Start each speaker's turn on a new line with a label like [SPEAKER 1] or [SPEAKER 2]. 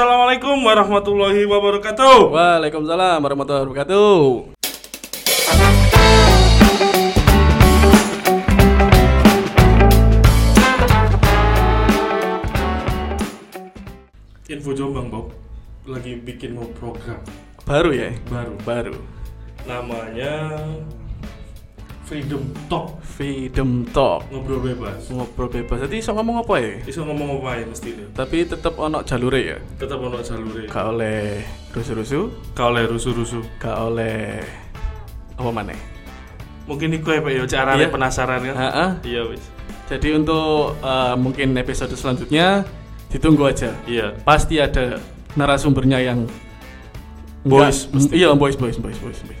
[SPEAKER 1] Assalamualaikum warahmatullahi wabarakatuh.
[SPEAKER 2] Waalaikumsalam warahmatullahi wabarakatuh.
[SPEAKER 1] Info Jombang, Bob. Lagi bikin mau program
[SPEAKER 2] Baru ya?
[SPEAKER 1] baru.
[SPEAKER 2] Baru.
[SPEAKER 1] Namanya Freedom Talk,
[SPEAKER 2] Freedom Talk.
[SPEAKER 1] ngobrol bebas.
[SPEAKER 2] Ngobrol bebas. Jadi iso ngomong apa ya?
[SPEAKER 1] Bisa ngomong apa ya mesti deh.
[SPEAKER 2] Tapi tetap ono jalure ya.
[SPEAKER 1] Tetap ono jalure.
[SPEAKER 2] Gak oleh rusuh-rusuh,
[SPEAKER 1] Kau le rusuh-rusuh.
[SPEAKER 2] gak oleh apa maneh.
[SPEAKER 1] Mungkin iku ya Pak ya carane
[SPEAKER 2] Iya.
[SPEAKER 1] penasaran kan.
[SPEAKER 2] Heeh.
[SPEAKER 1] Iya wis.
[SPEAKER 2] Jadi untuk eh, mungkin episode selanjutnya ditunggu aja.
[SPEAKER 1] Iya.
[SPEAKER 2] Pasti ada narasumbernya yang
[SPEAKER 1] Boys,
[SPEAKER 2] Nggak- iya, boys, boys, boys, boys. boys.